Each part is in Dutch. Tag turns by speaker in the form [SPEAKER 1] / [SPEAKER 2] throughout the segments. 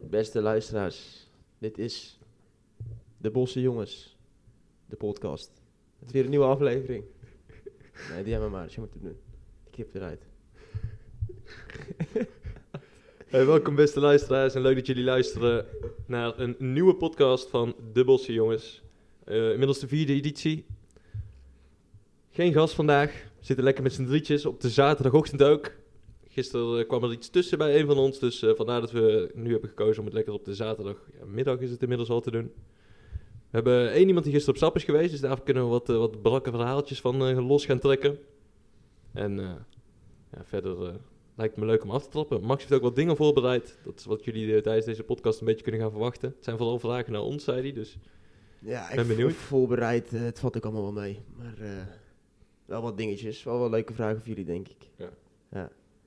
[SPEAKER 1] Beste luisteraars, dit is De Bosse Jongens, de podcast. Het is weer een nieuwe aflevering. Nee, die hebben we maar, dus je moet het doen. Ik knip eruit.
[SPEAKER 2] Hey, welkom beste luisteraars en leuk dat jullie luisteren naar een nieuwe podcast van De Bosse Jongens. Eh, inmiddels de vierde editie. Geen gast vandaag. We zitten lekker met z'n drietjes op de zaterdagochtend ook. Gisteren eh, kwam er iets tussen bij een van ons, dus eh, vandaar dat we nu hebben gekozen om het lekker op de zaterdagmiddag is het inmiddels al te doen. We hebben één iemand die gisteren op stap is geweest, dus daarvoor kunnen we wat, eh, wat brakke verhaaltjes van eh, los gaan trekken. En eh, ja, verder eh, lijkt me leuk om af te trappen. Max heeft ook wat dingen voorbereid. Dat is wat jullie eh, tijdens deze podcast een beetje kunnen gaan verwachten. Het zijn vooral vragen naar ons, zei hij. Dus
[SPEAKER 1] Ja,
[SPEAKER 2] Ben benieuwd.
[SPEAKER 1] vo- voorbereid. eh, het valt ook allemaal wel mee. Maar eh, wel wat dingetjes. Wel wat leuke vragen voor jullie, denk ik.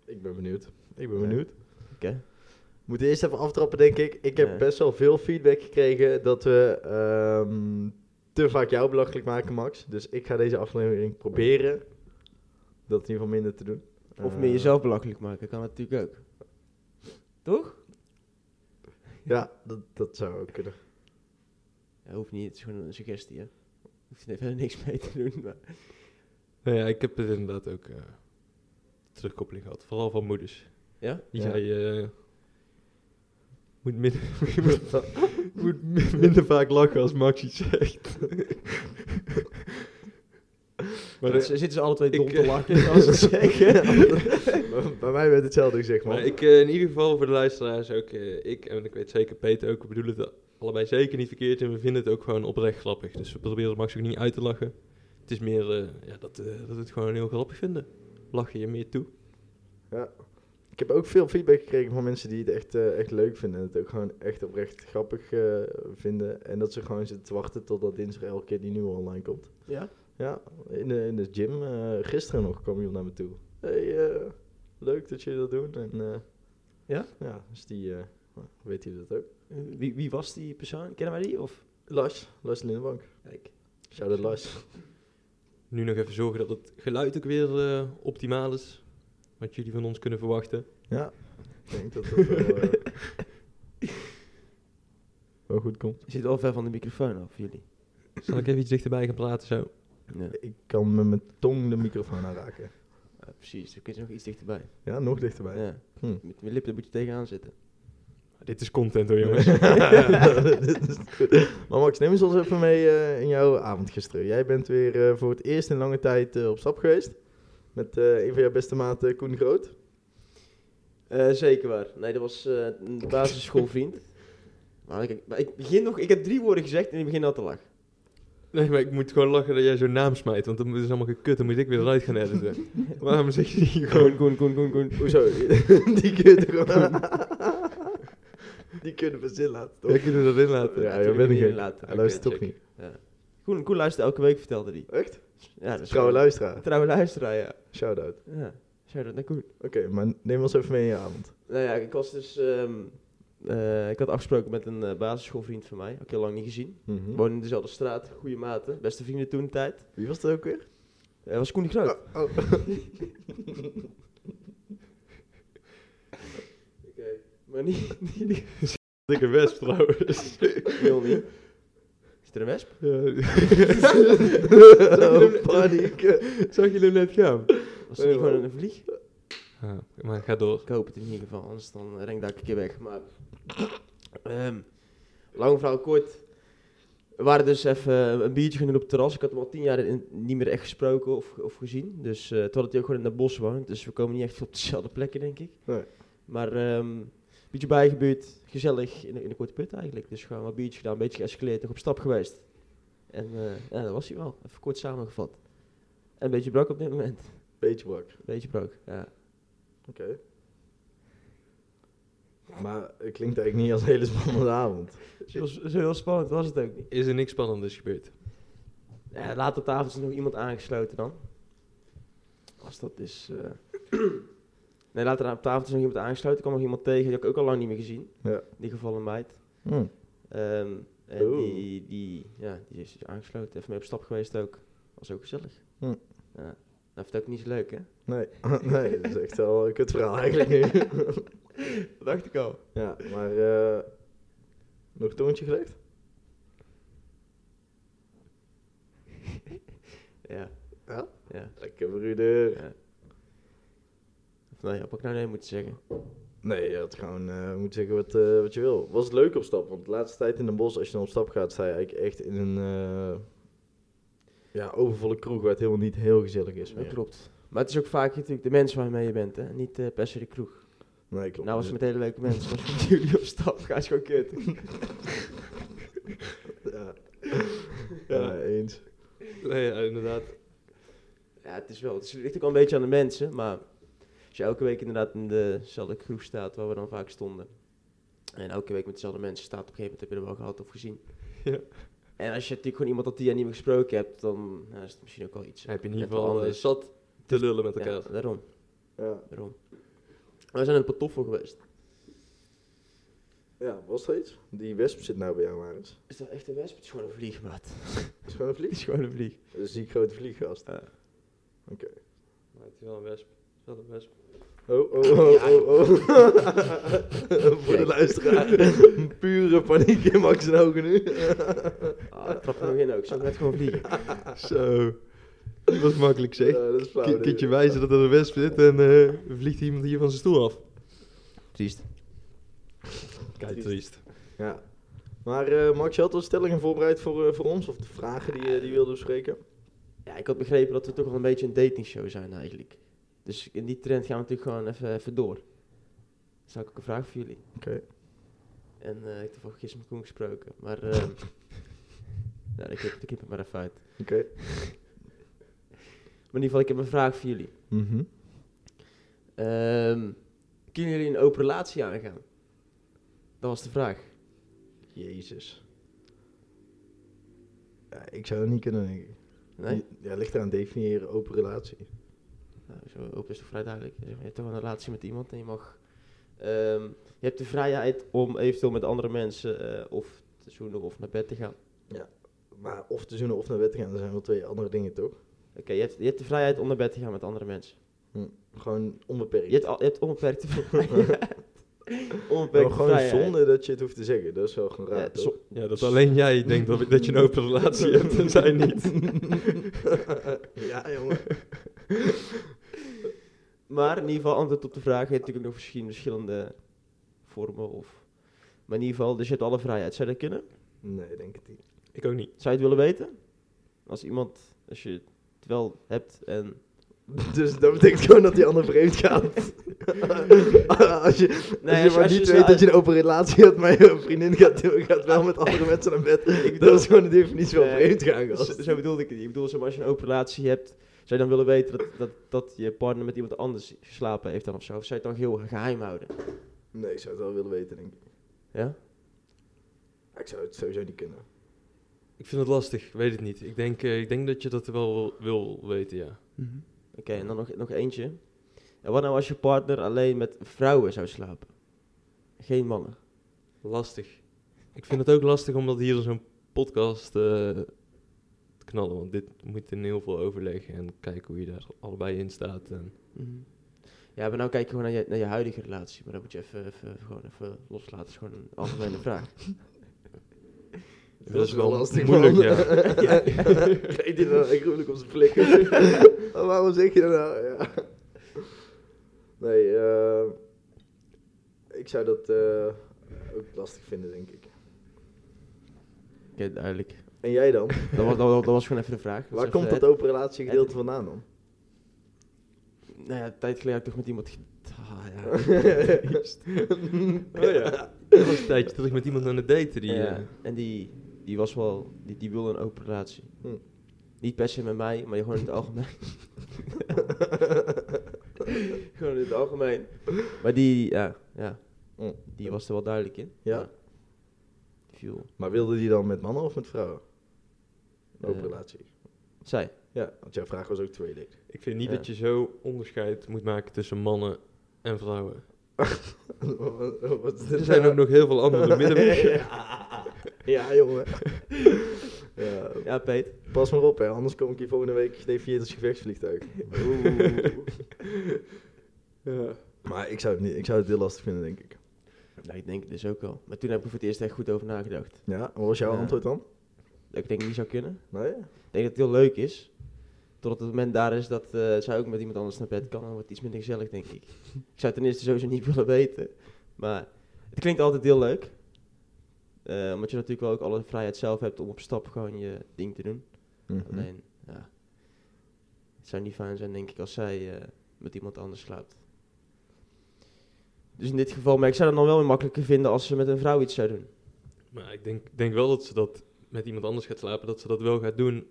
[SPEAKER 3] Ik ben benieuwd. Ik ben
[SPEAKER 1] Ja.
[SPEAKER 3] benieuwd.
[SPEAKER 1] Oké.
[SPEAKER 3] We moeten eerst even aftrappen, denk ik. Ik heb
[SPEAKER 1] Ja.
[SPEAKER 3] best wel veel feedback gekregen dat we ehm, te vaak jou belachelijk maken, Max. Dus ik ga deze aflevering proberen dat in ieder geval minder te doen.
[SPEAKER 1] Of
[SPEAKER 3] Eh,
[SPEAKER 1] meer jezelf belachelijk maken, kan natuurlijk ook. Toch?
[SPEAKER 3] Ja, dat, dat zou ook kunnen.
[SPEAKER 1] Ja, hoeft niet, het is gewoon een suggestie, hè. Hoeft er verder niks mee te doen, maar...
[SPEAKER 2] nou ja, ik heb het inderdaad ook eh, terugkoppeling gehad. Vooral van moeders.
[SPEAKER 1] Ja?
[SPEAKER 2] Die
[SPEAKER 3] Ja.
[SPEAKER 2] zei... eh, moet minder, je moet,
[SPEAKER 3] Dat-
[SPEAKER 2] je moet mi- minder vaak lachen als Max iets zegt.
[SPEAKER 1] Maar
[SPEAKER 2] maar
[SPEAKER 1] dan
[SPEAKER 2] eh,
[SPEAKER 1] zitten ze alle twee
[SPEAKER 2] ik,
[SPEAKER 1] dom te
[SPEAKER 2] eh,
[SPEAKER 1] lachen, als ze het zeggen.
[SPEAKER 3] bij- Bij mij werd hetzelfde gezegd, man.
[SPEAKER 2] Maar ik, eh, in ieder geval voor de luisteraars ook, eh, ik en ik weet zeker Peter ook, we bedoelen het allebei zeker niet verkeerd en we vinden het ook gewoon oprecht grappig. Dus we proberen Max ook niet uit te lachen. Het is meer eh, ja, dat, eh, dat we het gewoon heel grappig vinden. Lach je je meer toe.
[SPEAKER 3] Ik heb ook veel feedback gekregen van mensen die het echt, eh, echt leuk vinden. En het ook gewoon echt oprecht grappig eh, vinden. En dat ze gewoon zitten te wachten totdat dinsdag elke keer die nieuwe online komt.
[SPEAKER 1] Ja?
[SPEAKER 3] Ja, in de, in de gym. eh, gisteren nog kwam iemand naar me toe. hey, eh, leuk dat jullie dat doen. En, eh,
[SPEAKER 1] Ja?
[SPEAKER 3] Ja, dus die, eh, nou, weet hij dat ook.
[SPEAKER 1] Wie, wie was die persoon? Kennen wij die? Of?
[SPEAKER 3] Lars, Lars Lindenbank.
[SPEAKER 1] Kijk.
[SPEAKER 3] Shout out Lars.
[SPEAKER 2] Nu nog even zorgen dat het geluid ook weer eh, optimaal is. Wat jullie van ons kunnen verwachten.
[SPEAKER 3] Ja, ik denk dat dat wel, eh, wel goed komt.
[SPEAKER 1] Zit wel ver van de microfoon af, jullie.
[SPEAKER 2] Zal ik even iets dichterbij gaan praten zo?
[SPEAKER 1] Ja,
[SPEAKER 3] Ik kan met mijn tong de microfoon aanraken.
[SPEAKER 1] Eh, precies. Dan kun je nog iets dichterbij.
[SPEAKER 3] Ja, nog dichterbij.
[SPEAKER 1] Ja.
[SPEAKER 3] Hm.
[SPEAKER 1] Met mijn lippen moet je tegenaan zitten.
[SPEAKER 2] Ah, Dit is content hoor jongens.
[SPEAKER 3] Dit is goed. maar Max, neem eens ons even mee eh, in jouw avond gisteren. Jij bent weer eh, voor het eerst in lange tijd eh, op stap geweest. Met eh, een van jouw beste maten, Koen Groot.
[SPEAKER 1] Eh, zeker waar. Nee, dat was eh, een basisschoolvriend. maar, ik, maar ik begin nog... Ik heb drie woorden gezegd en ik begin al te lachen.
[SPEAKER 2] Nee, maar ik moet gewoon lachen dat jij zo'n naam smijt. Want dan is het allemaal gekut. Dan moet ik weer eruit gaan editen. Waarom zeg je niet gewoon...
[SPEAKER 1] Koen, Koen, Koen, Koen.
[SPEAKER 3] Hoezo? Die kunnen gewoon... Die kunnen we zin laten, toch?
[SPEAKER 2] Jij kunt het erin laten.
[SPEAKER 3] Ja,
[SPEAKER 1] dat
[SPEAKER 3] je bent een gek.
[SPEAKER 1] later.
[SPEAKER 3] Hij luistert toch niet.
[SPEAKER 1] Koen, Koen luistert elke week, vertelde hij.
[SPEAKER 3] Echt?
[SPEAKER 1] Ja, dat is
[SPEAKER 3] Trouwe
[SPEAKER 1] gewoon-
[SPEAKER 3] luisteraar.
[SPEAKER 1] Trouwe luisteraar, ja.
[SPEAKER 3] Shout-out.
[SPEAKER 1] Ja, shout-out naar Koen.
[SPEAKER 3] Oké, maar neem ons even mee in je avond.
[SPEAKER 1] Nou ja, ik was dus... ehm, eh, ik had afgesproken met een eh, basisschoolvriend van mij. Had ik heel lang niet gezien.
[SPEAKER 3] Hm.
[SPEAKER 1] We woonden in dezelfde straat, goede maten, beste vrienden toen de tijd.
[SPEAKER 3] Wie was dat ook weer?
[SPEAKER 1] Dat Eh, was Koen de Groot.
[SPEAKER 3] Oh, oh.
[SPEAKER 1] Maar niet, niet, niet.
[SPEAKER 2] Dikke wesp trouwens.
[SPEAKER 1] Wil niet. Is er een wesp?
[SPEAKER 3] Oh, paniek.
[SPEAKER 2] Zag je hem net gaan?
[SPEAKER 1] Was er gewoon een vlieg?
[SPEAKER 2] maar ga door.
[SPEAKER 1] Ik hoop het in ieder geval, anders dan ren ik daar een keer weg. Maar, ehm lang verhaal kort. We waren dus even een biertje gaan doen op het terras. Ik had hem al tien jaar in- niet meer echt gesproken of, of gezien. Dus eh terwijl hij ook gewoon in het bos woont. Dus we komen niet echt op dezelfde plekken, denk ik.
[SPEAKER 3] Nee.
[SPEAKER 1] Maar ehm een beetje bijgebuurd, gezellig in, de- in de korte put eigenlijk. Dus gewoon wat biertje gedaan, een beetje geëscaleerd, nog op stap geweest. En eh, ja, dat was hij wel. Even kort samengevat. En een beetje brak op dit moment.
[SPEAKER 3] Beetje brak.
[SPEAKER 1] Een beetje brak, ja.
[SPEAKER 3] Oké. Maar het klinkt eigenlijk niet als een hele spannende avond.
[SPEAKER 1] Zo, zo heel spannend was het ook niet.
[SPEAKER 2] Is er niks spannends gebeurd?
[SPEAKER 1] Ja, laat Eh, op de avond is nog iemand aangesloten dan. Als dat is. eh, nee, later op de avond is nog iemand aangesloten. Ik kwam nog iemand tegen, die had ik ook al lang niet meer gezien.
[SPEAKER 3] Ja.
[SPEAKER 1] Die gevallen meid.
[SPEAKER 3] Hm.
[SPEAKER 1] Ehm, en
[SPEAKER 3] Oeh.
[SPEAKER 1] die, die, ja, die is dus aangesloten. Even mee op stap geweest ook. Was ook gezellig.
[SPEAKER 3] Hm.
[SPEAKER 1] Ja. Dat vind ik ook niet zo leuk, hè?
[SPEAKER 3] Nee. nee, dat is echt wel een kut verhaal eigenlijk nu.
[SPEAKER 1] Dat dacht ik al.
[SPEAKER 3] Ja, maar eh, Nog een toontje gelegd?
[SPEAKER 1] Ja.
[SPEAKER 3] Ja?
[SPEAKER 1] Ja.
[SPEAKER 3] Lekker broeder.
[SPEAKER 1] ja. Of nee, heb ik nou nee moeten zeggen.
[SPEAKER 3] Nee, je had gewoon eh moet zeggen wat, eh, wat je wil. Was het leuk op stap? Want de laatste tijd in Den Bosch, als je dan op stap gaat, sta je eigenlijk echt in een eh, ja, overvolle kroeg waar het helemaal niet heel gezellig is.
[SPEAKER 1] Dat
[SPEAKER 3] meer.
[SPEAKER 1] klopt. Maar het is ook vaak natuurlijk de mensen waarmee je bent, hè? niet eh, per se de kroeg.
[SPEAKER 3] Nee, klopt.
[SPEAKER 1] nou was het met hele leuke mensen, als met jullie op stap ga is gewoon kut.
[SPEAKER 3] Ja, ja. eens.
[SPEAKER 2] Nee, ja, inderdaad.
[SPEAKER 1] Ja, het is wel. Het is- ligt ook wel een beetje aan de mensen, maar als je elke week inderdaad in dezelfde kroeg staat waar we dan vaak stonden. En elke week met dezelfde mensen staat, op een gegeven moment heb je er wel gehad of gezien.
[SPEAKER 2] Ja.
[SPEAKER 1] En als je natuurlijk gewoon iemand al tien jaar niet meer gesproken hebt, dan nou, is het misschien ook wel iets.
[SPEAKER 2] Heb je in ieder
[SPEAKER 1] Net wel
[SPEAKER 2] geval eh,
[SPEAKER 1] anders.
[SPEAKER 2] zat te lullen met elkaar.
[SPEAKER 1] Ja, daarom,
[SPEAKER 3] Ja.
[SPEAKER 1] daarom. We zijn in Pantoffel geweest.
[SPEAKER 3] ja, was het iets? Die wesp zit nou bij jou, Maris.
[SPEAKER 1] Is dat echt een wesp? Het is gewoon een vlieg, maat.
[SPEAKER 3] Is het gewoon een
[SPEAKER 1] Het
[SPEAKER 3] vlieg?
[SPEAKER 1] is gewoon een vlieg.
[SPEAKER 3] Dat is die grote vlieggast.
[SPEAKER 1] Ja.
[SPEAKER 3] Oké.
[SPEAKER 2] Maar het is wel een wesp. Het is wel een wesp.
[SPEAKER 3] Oh, oh, oh, oh, oh. Voor de luisteraar. Pure paniek in Max' ogen nu.
[SPEAKER 1] Ah, dat trap er nog in ook. Zou ik net gewoon vliegen.
[SPEAKER 2] Zo. Dat was makkelijk zeg.
[SPEAKER 3] Ja, dat is flauw,
[SPEAKER 2] Ki-
[SPEAKER 3] dit.
[SPEAKER 2] kindje wijzen dat er een wesp zit en eh, vliegt iemand hier van zijn stoel af.
[SPEAKER 1] Triest.
[SPEAKER 2] Kijk,
[SPEAKER 3] Triest.
[SPEAKER 2] triest.
[SPEAKER 3] Ja. Maar eh, Max, je had al stellingen voorbereid voor, eh, voor ons? Of de vragen die, eh, die je wilde bespreken?
[SPEAKER 1] Ja, ik had begrepen dat we toch wel een beetje een datingshow zijn eigenlijk. Dus in die trend gaan we natuurlijk gewoon even, even door. Dan zou ik ook een vraag voor jullie.
[SPEAKER 3] Oké.
[SPEAKER 1] En eh, ik heb al gisteren met Koen gesproken. Maar ehm nou, ik knip ik knip het maar even uit. Maar
[SPEAKER 3] Oké.
[SPEAKER 1] in ieder geval, ik heb een vraag voor jullie.
[SPEAKER 3] Mhm.
[SPEAKER 1] Ehm, kunnen jullie een open relatie aangaan? Dat was de vraag.
[SPEAKER 3] Jezus. Ja, ik zou het niet kunnen, denk ik.
[SPEAKER 1] Nee?
[SPEAKER 3] Ja, ligt eraan definiëren open relatie.
[SPEAKER 1] Nou, zo open is toch vrij duidelijk. Je hebt toch wel een relatie met iemand en je mag... ehm, je hebt de vrijheid om eventueel met andere mensen eh, of te zoenen of naar bed te gaan.
[SPEAKER 3] Maar of te zoenen of naar bed te gaan, dat zijn wel twee andere dingen, toch?
[SPEAKER 1] Oké, je, hebt, je hebt de vrijheid om naar bed te gaan met andere mensen.
[SPEAKER 3] Gewoon
[SPEAKER 1] Je
[SPEAKER 3] onbeperkt.
[SPEAKER 1] hebt, al, je hebt onbeperkte vrijheid.
[SPEAKER 3] Maar
[SPEAKER 1] onbeperkte
[SPEAKER 3] Oh, gewoon
[SPEAKER 1] vrijheid.
[SPEAKER 3] zonde dat je het hoeft te zeggen. Dat is wel gewoon raar,
[SPEAKER 1] Ja,
[SPEAKER 3] toch?
[SPEAKER 1] zo-
[SPEAKER 2] Ja, dat alleen jij denkt dat, dat je een open relatie hebt en zij niet.
[SPEAKER 3] ja, jongen.
[SPEAKER 1] maar in ieder geval, antwoord op de vraag. Je hebt natuurlijk ook nog misschien verschillende vormen. Of, maar in ieder geval, dus je hebt alle vrijheid. Zou je dat kunnen?
[SPEAKER 3] Nee, denk het niet.
[SPEAKER 2] Ik ook niet.
[SPEAKER 1] Zou je het willen weten? Als iemand, als je het wel hebt en...
[SPEAKER 3] Dus dat betekent gewoon dat die ander vreemd gaat. als je,
[SPEAKER 1] Nee,
[SPEAKER 3] als
[SPEAKER 1] als-
[SPEAKER 3] je maar
[SPEAKER 1] als je
[SPEAKER 3] niet
[SPEAKER 1] zo-
[SPEAKER 3] weet dat je een open relatie hebt, maar je vriendin gaat, gaat wel met andere mensen naar bed. dat is gewoon de definitie van
[SPEAKER 1] Nee.
[SPEAKER 3] vreemd gaan,
[SPEAKER 1] Zo,
[SPEAKER 3] gast.
[SPEAKER 1] zo bedoelde ik het niet. Ik bedoel, zeg maar, als je een open relatie hebt... Zou je dan willen weten dat, dat, dat je partner met iemand anders geslapen heeft dan of zo? Of zou je het dan heel geheim houden?
[SPEAKER 3] Nee, ik zou het wel willen weten, denk ik.
[SPEAKER 1] Ja?
[SPEAKER 3] Maar Ik zou het sowieso niet kunnen.
[SPEAKER 2] Ik vind het lastig, ik weet het niet. Ik denk, eh, ik denk dat je dat wel wil- wil weten, ja.
[SPEAKER 1] Oké, en dan nog, nog eentje. En wat nou als je partner alleen met vrouwen zou slapen? Geen mannen.
[SPEAKER 2] Lastig. Ik vind het ook lastig om dat hier in zo'n podcast eh, te knallen. Want dit moet in heel veel overleg en kijken hoe je daar allebei in staat. En...
[SPEAKER 3] Mhm.
[SPEAKER 1] Ja, maar nou kijk je gewoon naar je, naar je huidige relatie. Maar dat moet je even, even, even gewoon even loslaten. Dat is gewoon een algemene vraag.
[SPEAKER 2] Dat is wel moeilijk,
[SPEAKER 3] man.
[SPEAKER 2] ja.
[SPEAKER 3] ja. Geef die nou echt moeilijk op zijn flikker. Maar Waarom zeg je dat nou? Ja. Nee, eh, ik zou dat eh, ook lastig vinden, denk ik.
[SPEAKER 1] Oké, duidelijk.
[SPEAKER 3] En jij dan?
[SPEAKER 1] Dat was, dat, was- dat was gewoon even de vraag. was
[SPEAKER 3] Waar
[SPEAKER 1] even
[SPEAKER 3] komt
[SPEAKER 1] het-
[SPEAKER 3] dat open relatie gedeelte vandaan dan?
[SPEAKER 1] Nou ja, een tijd geleden heb ik toch met iemand... ge- Ah, ja.
[SPEAKER 2] Oh ja. Dat was een tijdje terug met iemand aan het daten. Die,
[SPEAKER 1] Ja,
[SPEAKER 2] eh,
[SPEAKER 1] En die, die was wel... Die, die wilde een open relatie.
[SPEAKER 3] Hm.
[SPEAKER 1] Niet per se met mij, maar gewoon in het algemeen. gewoon in het algemeen. Maar die, ja, ja.
[SPEAKER 3] Mm.
[SPEAKER 1] Die was er wel duidelijk in.
[SPEAKER 3] Ja.
[SPEAKER 1] Die viel.
[SPEAKER 3] Maar wilde die dan met mannen of met vrouwen? Een open
[SPEAKER 1] Eh.
[SPEAKER 3] relatie.
[SPEAKER 1] Zij.
[SPEAKER 3] Ja, want jouw vraag was ook tweeledig.
[SPEAKER 2] Ik vind niet
[SPEAKER 1] Ja.
[SPEAKER 2] dat je zo onderscheid moet maken tussen mannen en vrouwen.
[SPEAKER 3] Wat is dit
[SPEAKER 2] Er zijn
[SPEAKER 3] nou?
[SPEAKER 2] ook nog heel veel andere middenwegen.
[SPEAKER 3] ja. ja, jongen. Ja,
[SPEAKER 1] Ja, Peet.
[SPEAKER 3] pas maar op, hè. anders kom ik hier volgende week gedefinieerd als gevechtsvliegtuig.
[SPEAKER 1] Oeh.
[SPEAKER 3] Maar ik zou, het niet, ik zou het heel lastig vinden, denk ik.
[SPEAKER 1] Nou, ik denk het dus ook wel. Maar toen heb ik er voor het eerst echt goed over nagedacht.
[SPEAKER 3] Ja, wat was jouw
[SPEAKER 1] Ja.
[SPEAKER 3] antwoord dan?
[SPEAKER 1] Dat ik denk niet zou kunnen.
[SPEAKER 3] Nee?
[SPEAKER 1] Ik denk dat het heel leuk is. Totdat het moment daar is dat eh, zij ook met iemand anders naar bed kan. Dan wordt het iets minder gezellig, denk ik. ik zou ten eerste sowieso niet willen weten. Maar het klinkt altijd heel leuk. Eh, omdat je natuurlijk wel ook alle vrijheid zelf hebt om op stap gewoon je ding te doen.
[SPEAKER 3] Mhm.
[SPEAKER 1] Alleen, ja. Het zou niet fijn zijn, denk ik, als zij eh, met iemand anders slaapt. Dus in dit geval, maar ik zou het dan wel weer makkelijker vinden als ze met een vrouw iets zou doen.
[SPEAKER 2] Maar ik denk, denk wel dat ze dat met iemand anders gaat slapen, dat ze dat wel gaat doen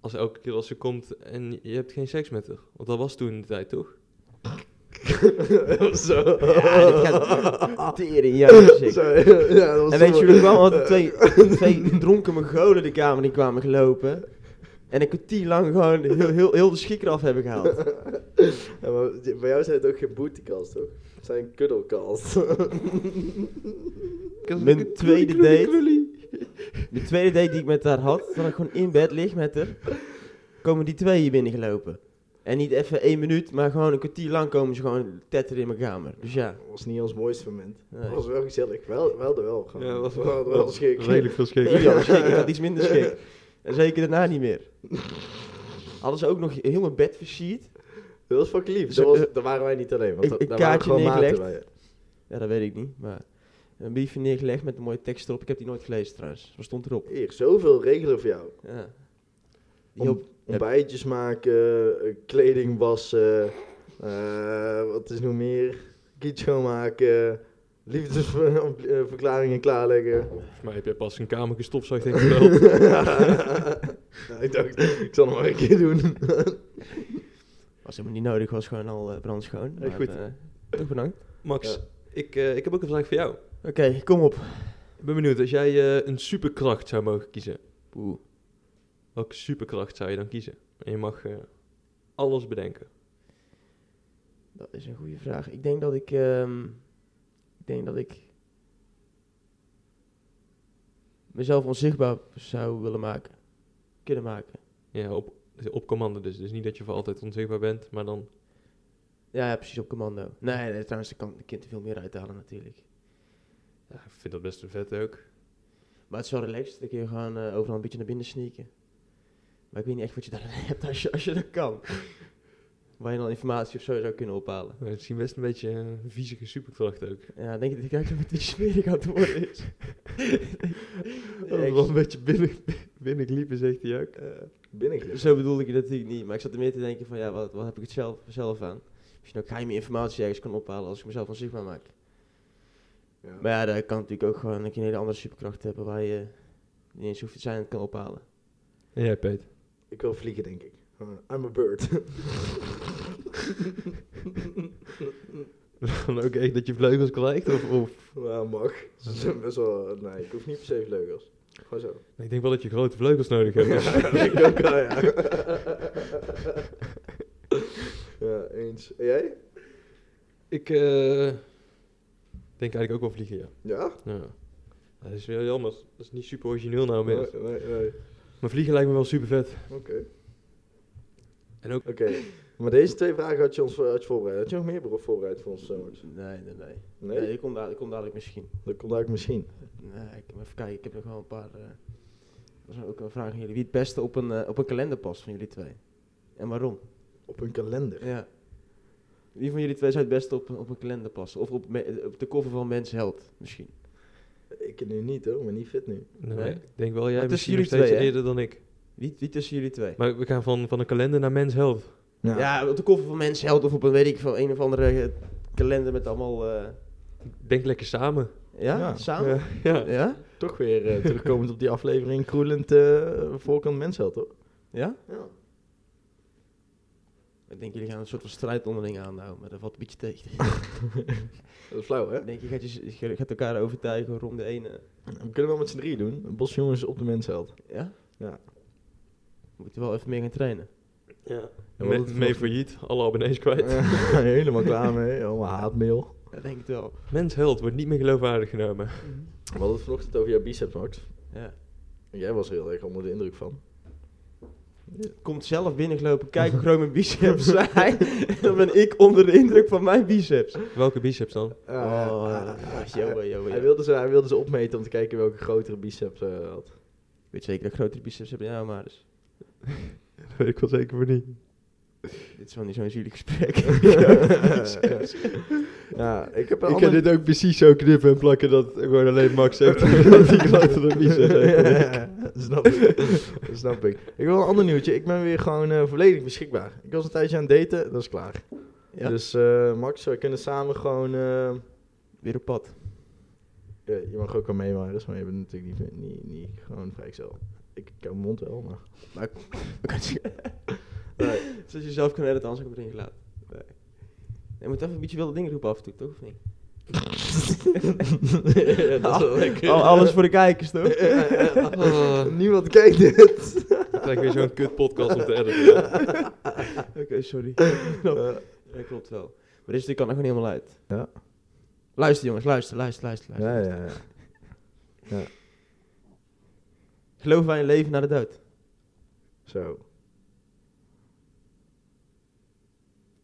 [SPEAKER 2] als elke keer als ze komt en je hebt geen seks met haar. Want dat was toen in de tijd, toch?
[SPEAKER 3] Zo.
[SPEAKER 1] Ja, dit gaat tering, ja,
[SPEAKER 3] Zo,
[SPEAKER 1] zeker.
[SPEAKER 3] ja, dat was
[SPEAKER 1] En weet je hoe
[SPEAKER 3] zo-
[SPEAKER 1] dat kwam? Want er twee, twee dronken Mongolen de kamer in kwamen gelopen. En een kwartier lang gewoon heel, heel, heel de schik eraf hebben gehaald.
[SPEAKER 3] Ja, maar bij jou zijn het ook geen bootycalls, toch? Het zijn kuddelcalls.
[SPEAKER 1] Mijn tweede date. De tweede date die ik met haar had, dat ik gewoon in bed lig met haar, komen die twee hier binnengelopen. En niet even één minuut, maar gewoon een kwartier lang komen ze gewoon tetteren in mijn kamer. Dus ja.
[SPEAKER 3] Dat was niet ons mooiste moment.
[SPEAKER 1] Nee.
[SPEAKER 3] Dat was wel gezellig. Wel, wel de wel. Gewoon.
[SPEAKER 2] Ja, was
[SPEAKER 3] We hadden wel schik.
[SPEAKER 2] Redelijk veel schik.
[SPEAKER 1] Ik had, schik, ik had iets minder schik. En zeker daarna niet meer. Hadden ze ook nog heel mijn bed versierd.
[SPEAKER 3] Dat was fucking lief.
[SPEAKER 1] Zo,
[SPEAKER 3] Dat was,
[SPEAKER 1] eh,
[SPEAKER 3] daar waren wij niet alleen. Want
[SPEAKER 1] ik-
[SPEAKER 3] da-
[SPEAKER 1] ik
[SPEAKER 3] daar waren
[SPEAKER 1] kaartje
[SPEAKER 3] gewoon maten
[SPEAKER 1] neergelegd.
[SPEAKER 3] bij.
[SPEAKER 1] Ja, dat weet ik niet, maar een briefje neergelegd met een mooie tekst erop. Ik heb die nooit gelezen trouwens. Wat stond erop?
[SPEAKER 3] Hier, zoveel regelen voor jou.
[SPEAKER 1] Ja. Die
[SPEAKER 3] Om-
[SPEAKER 1] hielp-
[SPEAKER 3] Ontbijtjes maken, eh, kleding wassen, eh, wat is nog meer? Kiet schoonmaken, liefdesverklaringen klaarleggen.
[SPEAKER 2] Volgens mij heb je pas een kamer gestofzuigd, denk ik wel.
[SPEAKER 3] Ja, ik dacht, ik zal nog maar een keer doen.
[SPEAKER 1] was helemaal niet nodig, was gewoon al eh, brandschoon.
[SPEAKER 2] Hey,
[SPEAKER 1] maar,
[SPEAKER 2] goed.
[SPEAKER 1] eh, toch bedankt.
[SPEAKER 2] Max,
[SPEAKER 3] Ja.
[SPEAKER 2] ik, eh, ik heb ook een vraag voor jou.
[SPEAKER 1] Oké, kom op.
[SPEAKER 2] Ik ben benieuwd, als jij eh, een superkracht zou mogen kiezen,
[SPEAKER 1] Oeh.
[SPEAKER 2] welke superkracht zou je dan kiezen? En je mag eh, alles bedenken.
[SPEAKER 1] Dat is een goede vraag. Ik denk dat ik. ehm, ik denk dat ik. mezelf onzichtbaar zou willen maken. Kunnen maken.
[SPEAKER 2] Ja, op, op commando dus. Dus niet dat je voor altijd onzichtbaar bent, maar dan...
[SPEAKER 1] Ja, ja, precies op commando. Nee, nee trouwens, ik kan de kind er veel meer uithalen natuurlijk.
[SPEAKER 2] Ja, ik vind dat best een vet ook.
[SPEAKER 1] Maar het is wel relaxed. Dan kun je gewoon eh, overal een beetje naar binnen sneaken. Maar ik weet niet echt wat je daarin hebt als je, als je dat kan. Waar je dan informatie of zo zou kunnen ophalen.
[SPEAKER 2] Maar Het is best een beetje een viezige superkracht ook.
[SPEAKER 1] Ja, denk je dat ik eigenlijk een beetje smerig aan het worden is?
[SPEAKER 2] Als
[SPEAKER 1] ik- Eh,
[SPEAKER 2] we wel een beetje binnen, binnengliepen, zegt hij ook.
[SPEAKER 3] Binnen
[SPEAKER 1] Zo bedoelde ik het natuurlijk niet, maar ik zat er meer te denken van ja, wat, wat heb ik het zelf, zelf aan? Misschien ook geheime informatie ergens kan ophalen als ik mezelf onzichtbaar maak. Maar ja, dat kan natuurlijk ook gewoon dat je een hele andere superkracht hebt waar je niet eens hoeft te zijn en het kan ophalen.
[SPEAKER 2] En jij, Peet?
[SPEAKER 3] Ik wil vliegen, denk ik. Gewoon, Ah, I'm a bird.
[SPEAKER 2] Dan ook echt dat je vleugels krijgt? Of, of?
[SPEAKER 3] Ja, mag. Ze zijn best wel... Nee, ik hoef niet per se vleugels. Gewoon zo.
[SPEAKER 2] Ik denk wel dat je grote vleugels nodig hebt.
[SPEAKER 3] Ja, ik ook wel, ja. ja, eens. En jij?
[SPEAKER 2] ik eh, denk eigenlijk ook wel vliegen, ja.
[SPEAKER 3] Ja?
[SPEAKER 2] ja. Dat is wel jammer. Dat is niet super origineel nou
[SPEAKER 3] Nee,
[SPEAKER 2] meer.
[SPEAKER 3] nee, nee.
[SPEAKER 2] Maar vliegen lijkt me wel super vet.
[SPEAKER 3] Oké.
[SPEAKER 2] En ook...
[SPEAKER 3] Oké. Maar deze twee vragen had je ons had je voorbereid. Had je nog meer bro- voorbereid voor ons, eh, Max?
[SPEAKER 1] Nee, nee, nee.
[SPEAKER 3] Nee?
[SPEAKER 1] Nee, ik kom, daar, ik kom dadelijk misschien.
[SPEAKER 3] Dat komt eigenlijk misschien.
[SPEAKER 1] Nee, ik, even kijken, ik heb nog wel een paar. eh, dat is ook een vraag aan jullie. Wie het beste op een, eh, op een kalender past van jullie twee? En waarom?
[SPEAKER 3] Op een kalender.
[SPEAKER 1] Ja. Wie van jullie twee zou het beste op, een- op een kalender passen? Of op, me- op de cover van Mens Held misschien?
[SPEAKER 3] Ik nu niet hoor, maar niet fit nu.
[SPEAKER 2] Nee,
[SPEAKER 1] Nee?
[SPEAKER 2] Ik denk wel, jij
[SPEAKER 1] Maar tussen
[SPEAKER 2] misschien
[SPEAKER 1] jullie
[SPEAKER 2] nog steeds
[SPEAKER 1] twee, hè?
[SPEAKER 2] eerder dan ik.
[SPEAKER 1] Wie, wie tussen jullie twee?
[SPEAKER 2] Maar we gaan van, van een kalender naar mens health.
[SPEAKER 1] Ja. op de koffer van mensen held of op een weet ik veel, een of andere eh, kalender met allemaal. eh,
[SPEAKER 2] Denk lekker samen.
[SPEAKER 1] ja,
[SPEAKER 3] Ja.
[SPEAKER 1] samen?
[SPEAKER 2] Ja.
[SPEAKER 1] Ja. ja?
[SPEAKER 3] Toch weer eh, terugkomend op die aflevering Kroelend eh, Voorkant Mensheld, hoor. Ja.
[SPEAKER 1] Ik denk jullie gaan een soort van strijd onderling aanhouden, maar dat valt een beetje tegen.
[SPEAKER 3] Dat is flauw, hè?
[SPEAKER 1] Ik denk je gaat, je, je gaat elkaar overtuigen rond de ene.
[SPEAKER 3] We kunnen wel met z'n drie doen. Bosjongens op de Mensheld.
[SPEAKER 1] Ja?
[SPEAKER 3] Ja.
[SPEAKER 1] We moeten wel even meer gaan trainen.
[SPEAKER 2] Ja.
[SPEAKER 3] Ja,
[SPEAKER 2] Me-
[SPEAKER 3] want het
[SPEAKER 2] mee
[SPEAKER 3] was-
[SPEAKER 2] failliet, alle abonnees kwijt.
[SPEAKER 3] helemaal klaar mee. Allemaal haatmail.
[SPEAKER 1] Dat denk ik wel.
[SPEAKER 2] Mens held wordt niet meer geloofwaardig genomen.
[SPEAKER 3] We hadden het vanochtend over jouw biceps, Max.
[SPEAKER 1] Ja.
[SPEAKER 3] Jij was er heel erg onder de indruk van.
[SPEAKER 1] Komt zelf binnengelopen, kijk hoe groot mijn biceps zijn. en dan ben ik onder de indruk van mijn biceps.
[SPEAKER 2] Welke biceps dan?
[SPEAKER 3] Ah,
[SPEAKER 1] Oh,
[SPEAKER 3] ah,
[SPEAKER 1] ah,
[SPEAKER 3] ah,
[SPEAKER 1] joh,
[SPEAKER 3] ah,
[SPEAKER 1] joh, joh.
[SPEAKER 3] Hij wilde, ze, hij wilde ze opmeten om te kijken welke grotere biceps eh, hij had.
[SPEAKER 1] Ik weet zeker dat ik grotere biceps heb dan jou, maar dus,
[SPEAKER 2] Dat weet ik wel zeker voor niet.
[SPEAKER 1] dit is wel niet zo'n zielig gesprek.
[SPEAKER 3] ja, ik heb een
[SPEAKER 2] Ik kan
[SPEAKER 3] ander-
[SPEAKER 2] dit ook precies zo knippen en plakken dat gewoon alleen Max heeft. dat die grotere biceps heeft.
[SPEAKER 3] snap ik. snap ik. Ik wil een ander nieuwtje. Ik ben weer gewoon eh, volledig beschikbaar. Ik was een tijdje aan het daten, dat is klaar.
[SPEAKER 1] Ja.
[SPEAKER 3] Dus eh, Max, we kunnen samen gewoon... eh,
[SPEAKER 1] Weer op pad.
[SPEAKER 3] ja, je mag ook wel mee, maar dat is maar je bent natuurlijk niet, niet, niet gewoon vrijgezel. Ik ik hou mijn mond wel, maar...
[SPEAKER 1] Maar Zoals je zelf kan editen, anders heb ik het erin gelaten. Je moet even een beetje wilde dingen roepen af en toe, toch? Of niet?
[SPEAKER 3] Ja, dat is wel lekker.
[SPEAKER 1] Al- alles voor de kijkers, toch?
[SPEAKER 3] Niemand kijkt dit.
[SPEAKER 2] Ik krijg weer zo'n kut podcast om te editen.
[SPEAKER 1] Oké, sorry. Ja, klopt wel. Maar dit kan er gewoon helemaal uit.
[SPEAKER 3] Ja.
[SPEAKER 1] Luister jongens, luister, luister, luister. luister.
[SPEAKER 3] Ja, ja, ja.
[SPEAKER 1] Geloven wij in leven na de dood?
[SPEAKER 3] Zo.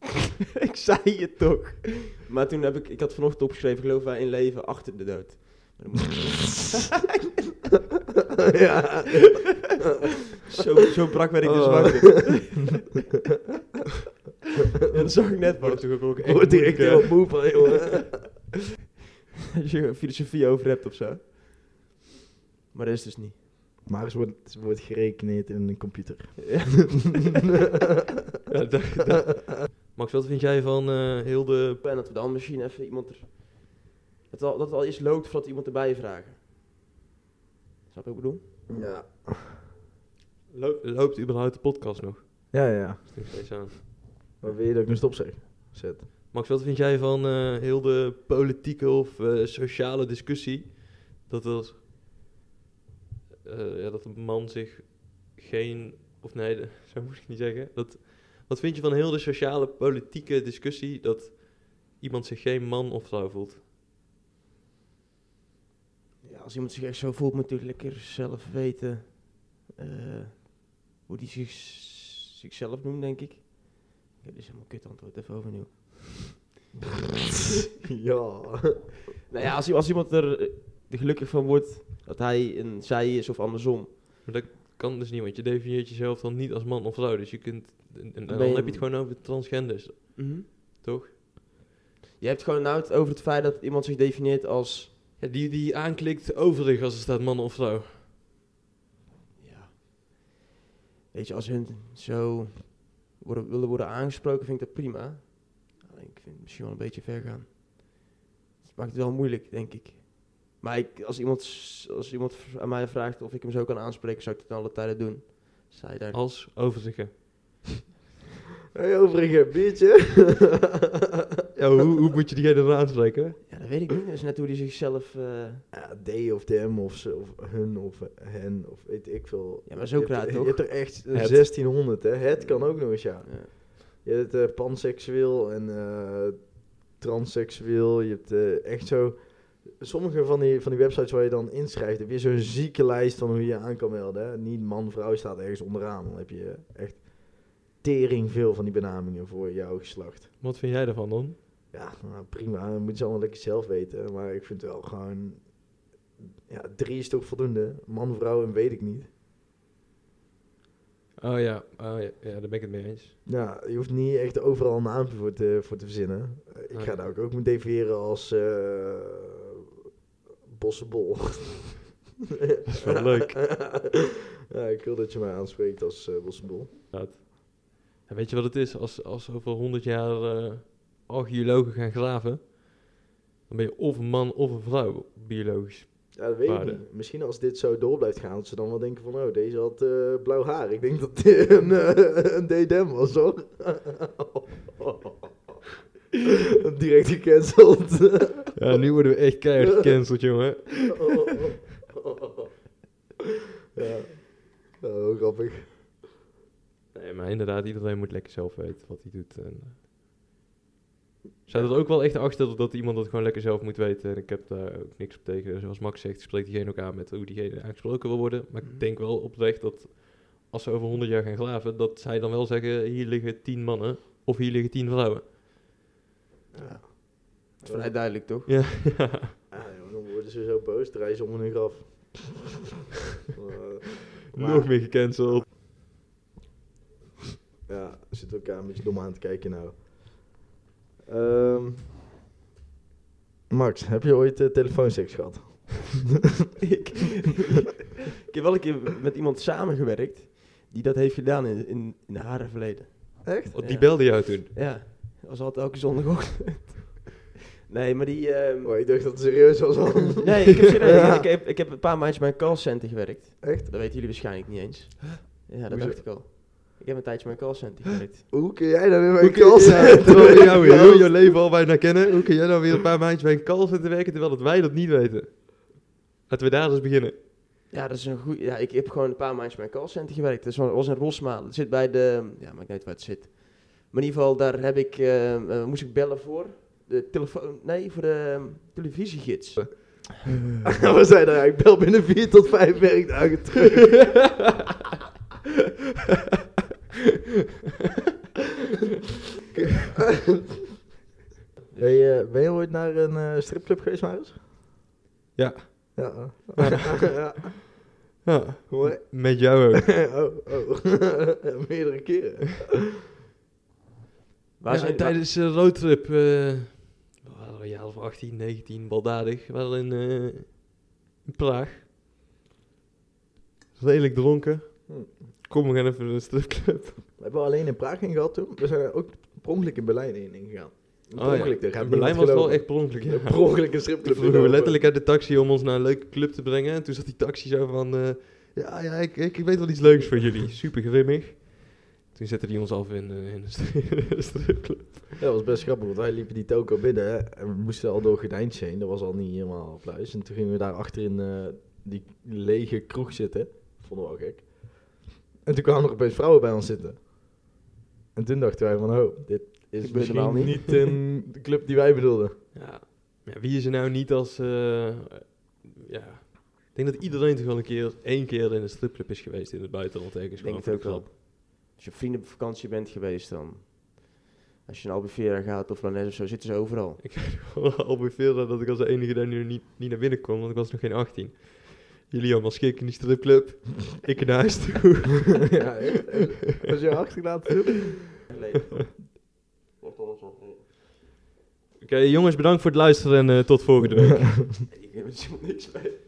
[SPEAKER 1] ik zei het toch. Maar toen heb ik, ik had vanochtend opgeschreven, geloven wij in leven achter de dood? Maar dan moet ik-
[SPEAKER 3] Ja.
[SPEAKER 1] zo, zo brak werd ik dus
[SPEAKER 2] Oh.
[SPEAKER 1] wakker. Ja, dat zag ik net
[SPEAKER 2] Wordt
[SPEAKER 1] pas.
[SPEAKER 2] natuurlijk ook
[SPEAKER 3] Ik
[SPEAKER 2] echt
[SPEAKER 3] word direct
[SPEAKER 2] moeilijk,
[SPEAKER 3] heel moe van, jongen.
[SPEAKER 1] Als je een filosofie over hebt of zo. Maar dat is dus niet.
[SPEAKER 3] Maar het wordt, ze wordt gerekeneerd in een computer.
[SPEAKER 1] Ja.
[SPEAKER 2] hè. Ja, dat- dat- Max, wat vind jij van eh, heel de...
[SPEAKER 1] En dat we dan misschien even iemand er... Dat, al, dat het al eerst loopt voordat iemand erbij vragen. Snap je wat ik bedoel?
[SPEAKER 3] Ja.
[SPEAKER 2] Lo- Loopt überhaupt de podcast nog?
[SPEAKER 3] Ja, ja.
[SPEAKER 2] Is nog steeds aan.
[SPEAKER 3] Maar wil je dat ik een stop zeg? Zet.
[SPEAKER 2] Max, wat vind jij van eh, heel de politieke of eh, sociale discussie? Dat er, eh, ja, dat een man zich geen, of nee, de- zo moet ik niet zeggen. Dat, wat vind je van heel de sociale politieke discussie dat iemand zich geen man of vrouw voelt?
[SPEAKER 1] Ja, als iemand zich echt zo voelt, moet hij lekker zelf weten eh, hoe hij zich, zichzelf noemt, denk ik. Ik heb dus helemaal kut antwoord, even overnieuw.
[SPEAKER 3] ja.
[SPEAKER 1] Nou ja, als, i- als iemand er eh, er gelukkig van wordt dat hij een zij is of andersom.
[SPEAKER 2] Maar dat kan dus niet, want je definieert jezelf dan niet als man of vrouw. Dus je kunt, en, en
[SPEAKER 1] Ben
[SPEAKER 2] dan
[SPEAKER 1] je-
[SPEAKER 2] heb je het gewoon over transgenders,
[SPEAKER 1] Mhm.
[SPEAKER 2] toch?
[SPEAKER 1] Je hebt gewoon nou het over het feit dat iemand zich definieert als...
[SPEAKER 2] Ja, die, die aanklikt overig als er staat man of vrouw.
[SPEAKER 1] Ja, weet je, als hun zo worden, willen worden aangesproken, vind ik dat prima. Alleen, ik vind het misschien wel een beetje ver gaan. Het maakt het wel moeilijk, denk ik. Maar ik, als, iemand, s- als iemand v- aan mij vraagt of ik hem zo kan aanspreken, zou ik het dan alle tijden doen. Zij daar.
[SPEAKER 2] Als overige.
[SPEAKER 3] Hey, overige, biertje.
[SPEAKER 2] Ja, hoe, hoe moet je diegene dan aanspreken?
[SPEAKER 1] Ja, dat weet ik niet. Dat is net hoe hij zichzelf. eh,
[SPEAKER 3] Ja, D of dem of, ze, of hun of hen of weet ik veel.
[SPEAKER 1] Ja, maar zo
[SPEAKER 3] Je hebt-
[SPEAKER 1] raar,
[SPEAKER 3] Je
[SPEAKER 1] toch?
[SPEAKER 3] hebt er echt
[SPEAKER 2] Het.
[SPEAKER 3] 1600, hè? Het kan ook nog eens, ja.
[SPEAKER 1] ja.
[SPEAKER 3] Je hebt eh, panseksueel en eh, transseksueel. Je hebt eh, echt zo... Sommige van die, van die websites waar je dan inschrijft, heb je zo'n zieke lijst van hoe je je aan kan melden. Hè? Niet man, vrouw staat ergens onderaan. Dan heb je echt tering veel van die benamingen voor jouw geslacht.
[SPEAKER 2] Wat vind jij daarvan dan?
[SPEAKER 3] Ja, nou, prima. Dat moeten ze allemaal lekker zelf weten. Maar ik vind wel gewoon... Ja, drie is toch voldoende? Man, vrouw en weet ik niet.
[SPEAKER 2] Oh ja, oh ja, ja daar ben ik het mee eens.
[SPEAKER 3] Ja, je hoeft niet echt overal een naam voor te, voor te verzinnen. Eh, Ik ga
[SPEAKER 2] Nee.
[SPEAKER 3] daar ook, ook me definiëren als... eh bossenbol.
[SPEAKER 2] Dat is wel leuk.
[SPEAKER 3] ja, ik wil dat je mij aanspreekt als eh bossenbol.
[SPEAKER 2] En weet je wat het is? Als, als over 100 jaar eh, archeologen gaan graven, dan ben je of een man of een vrouw, biologisch.
[SPEAKER 3] Ja, dat weet
[SPEAKER 2] Waarde.
[SPEAKER 3] ik niet. Misschien als dit zo door blijft gaan, dat ze dan wel denken van... Oh, deze had eh, blauw haar. Ik denk dat dit een, eh, een DDM was, hoor. Direct gecanceld.
[SPEAKER 2] Ja, nu worden we echt keihard gecanceld, jongen.
[SPEAKER 3] ja. Nou, heel grappig.
[SPEAKER 2] Nee, maar inderdaad, iedereen moet lekker zelf weten wat hij doet. En, eh. Staat er ook wel echt achter dat iemand dat gewoon lekker zelf moet weten. En ik heb daar ook niks op tegen. Zoals Max zegt, spreekt diegene ook aan met hoe diegene aangesproken wil worden. Maar
[SPEAKER 1] Mhm.
[SPEAKER 2] ik denk wel oprecht dat als ze over 100 jaar gaan graven, dat zij dan wel zeggen: hier liggen 10 mannen of hier liggen 10 vrouwen.
[SPEAKER 1] Ja. Dat is vrij duidelijk, toch?
[SPEAKER 2] Ja,
[SPEAKER 3] Ah, joh, dan worden ze zo boos, draaien ze om hun graf. Eh, maar-
[SPEAKER 2] nog meer gecanceld.
[SPEAKER 3] Ja, we zitten elkaar een beetje dom aan te kijken nou. Ehm, Max, heb je ooit eh, telefoonseks gehad?
[SPEAKER 1] ik, ik heb wel een keer met iemand samengewerkt die dat heeft gedaan in, in, in haar verleden.
[SPEAKER 3] Echt?
[SPEAKER 2] Oh, die
[SPEAKER 1] Ja.
[SPEAKER 2] belde jou toen.
[SPEAKER 1] Ja, dat was altijd elke zondagochtend. nee, maar die... ehm,
[SPEAKER 3] Oh, ik dacht dat het serieus was al.
[SPEAKER 1] nee, ik heb, serieus,
[SPEAKER 3] Ja.
[SPEAKER 1] ik, heb, ik heb een paar maandjes bij een callcenter gewerkt.
[SPEAKER 3] Echt?
[SPEAKER 1] Dat weten jullie waarschijnlijk niet eens. Ja, dat
[SPEAKER 3] Hoezo?
[SPEAKER 1] dacht ik al. Ik heb een tijdje bij een callcenter gewerkt.
[SPEAKER 3] Hoe kun jij dan weer bij
[SPEAKER 2] Hoe
[SPEAKER 3] een
[SPEAKER 2] kun je- ja,
[SPEAKER 3] callcenter?
[SPEAKER 2] terwijl we jou heel je leven al bijna kennen, hoe kun jij nou weer een paar maandjes bij een callcenter werken terwijl dat wij dat niet weten? Laten we daar eens beginnen.
[SPEAKER 1] Ja, dat is een goed. Ja, ik heb gewoon een paar maandjes bij een callcenter gewerkt. Dat is wel- was in Rosmalen. Het zit bij de. Ja, maar ik weet niet waar het zit. Maar in ieder geval, daar heb ik, ehm, eh, moest ik bellen voor. De telefoon. Nee, voor de ehm, televisiegids.
[SPEAKER 3] We zijn er, ik bel binnen 4 tot 5 werkdagen terug. Ben je, ben je ooit naar een eh, stripclub geweest, Marius?
[SPEAKER 2] Ja.
[SPEAKER 3] Ja. oh. ja.
[SPEAKER 2] Ja,
[SPEAKER 3] Mooi.
[SPEAKER 2] met jou ook.
[SPEAKER 3] oh, oh. Meerdere keren.
[SPEAKER 1] Waar
[SPEAKER 2] Ja,
[SPEAKER 1] zijn
[SPEAKER 2] tijdens de roadtrip, eh, we waren een jaar of 18, 19, baldadig, we waren in, eh, in Praag. Redelijk dronken.
[SPEAKER 3] Hm.
[SPEAKER 2] Kom, we gaan even naar de stripclub.
[SPEAKER 3] We hebben alleen in Praag heen gehad toen. We zijn er ook per ongeluk in Berlijn heen gegaan. Per
[SPEAKER 2] Oh ja,
[SPEAKER 3] ongeluk, daar gaat
[SPEAKER 2] in Berlijn was het
[SPEAKER 3] niemand
[SPEAKER 2] wel
[SPEAKER 3] geloven.
[SPEAKER 2] echt per ongeluk, ja.
[SPEAKER 3] Per ongeluk een stripclub.
[SPEAKER 2] Toen vroegen we
[SPEAKER 3] gelopen.
[SPEAKER 2] letterlijk uit de taxi om ons naar een leuke club te brengen. En toen zat die taxi zo van... eh, ja, ja ik, ik, ik weet wel iets leuks voor jullie. Super grimmig. Toen zette hij ons af in, eh, in een stri- een stripclub.
[SPEAKER 3] Ja, dat was best grappig, want wij liepen die toko binnen hè, en we moesten al door Gordijntje heen. Dat was al niet helemaal pluis. En toen gingen we daar achter in eh, die lege kroeg zitten. Vonden we wel gek. En toen kwamen er opeens vrouwen bij ons zitten. En toen dachten wij van, oh, dit is
[SPEAKER 1] Gebeurt normaal
[SPEAKER 3] misschien
[SPEAKER 1] niet.
[SPEAKER 3] niet een de club die wij bedoelden.
[SPEAKER 2] Ja. ja, wie is er nou niet als... eh, eh, ja. Ik denk dat iedereen toch wel een keer, één keer in een stripclub is geweest in het buitenland. Ik
[SPEAKER 1] Denk het ook wel. Als je vrienden op vakantie bent geweest dan. Als je naar Albufeira gaat of Lanes of zo, zitten ze overal.
[SPEAKER 2] Ik weet nog wel Albufeira dat ik als de enige daar nu niet, niet naar binnen kon, want ik was nog geen 18. Jullie allemaal schik in die stripclub. ik naar huis toe.
[SPEAKER 3] ja, echt. echt. Was je achtergelaten toen?
[SPEAKER 2] Oké, jongens, bedankt voor het luisteren en eh, tot volgende week.
[SPEAKER 1] Ik heb er niks mee.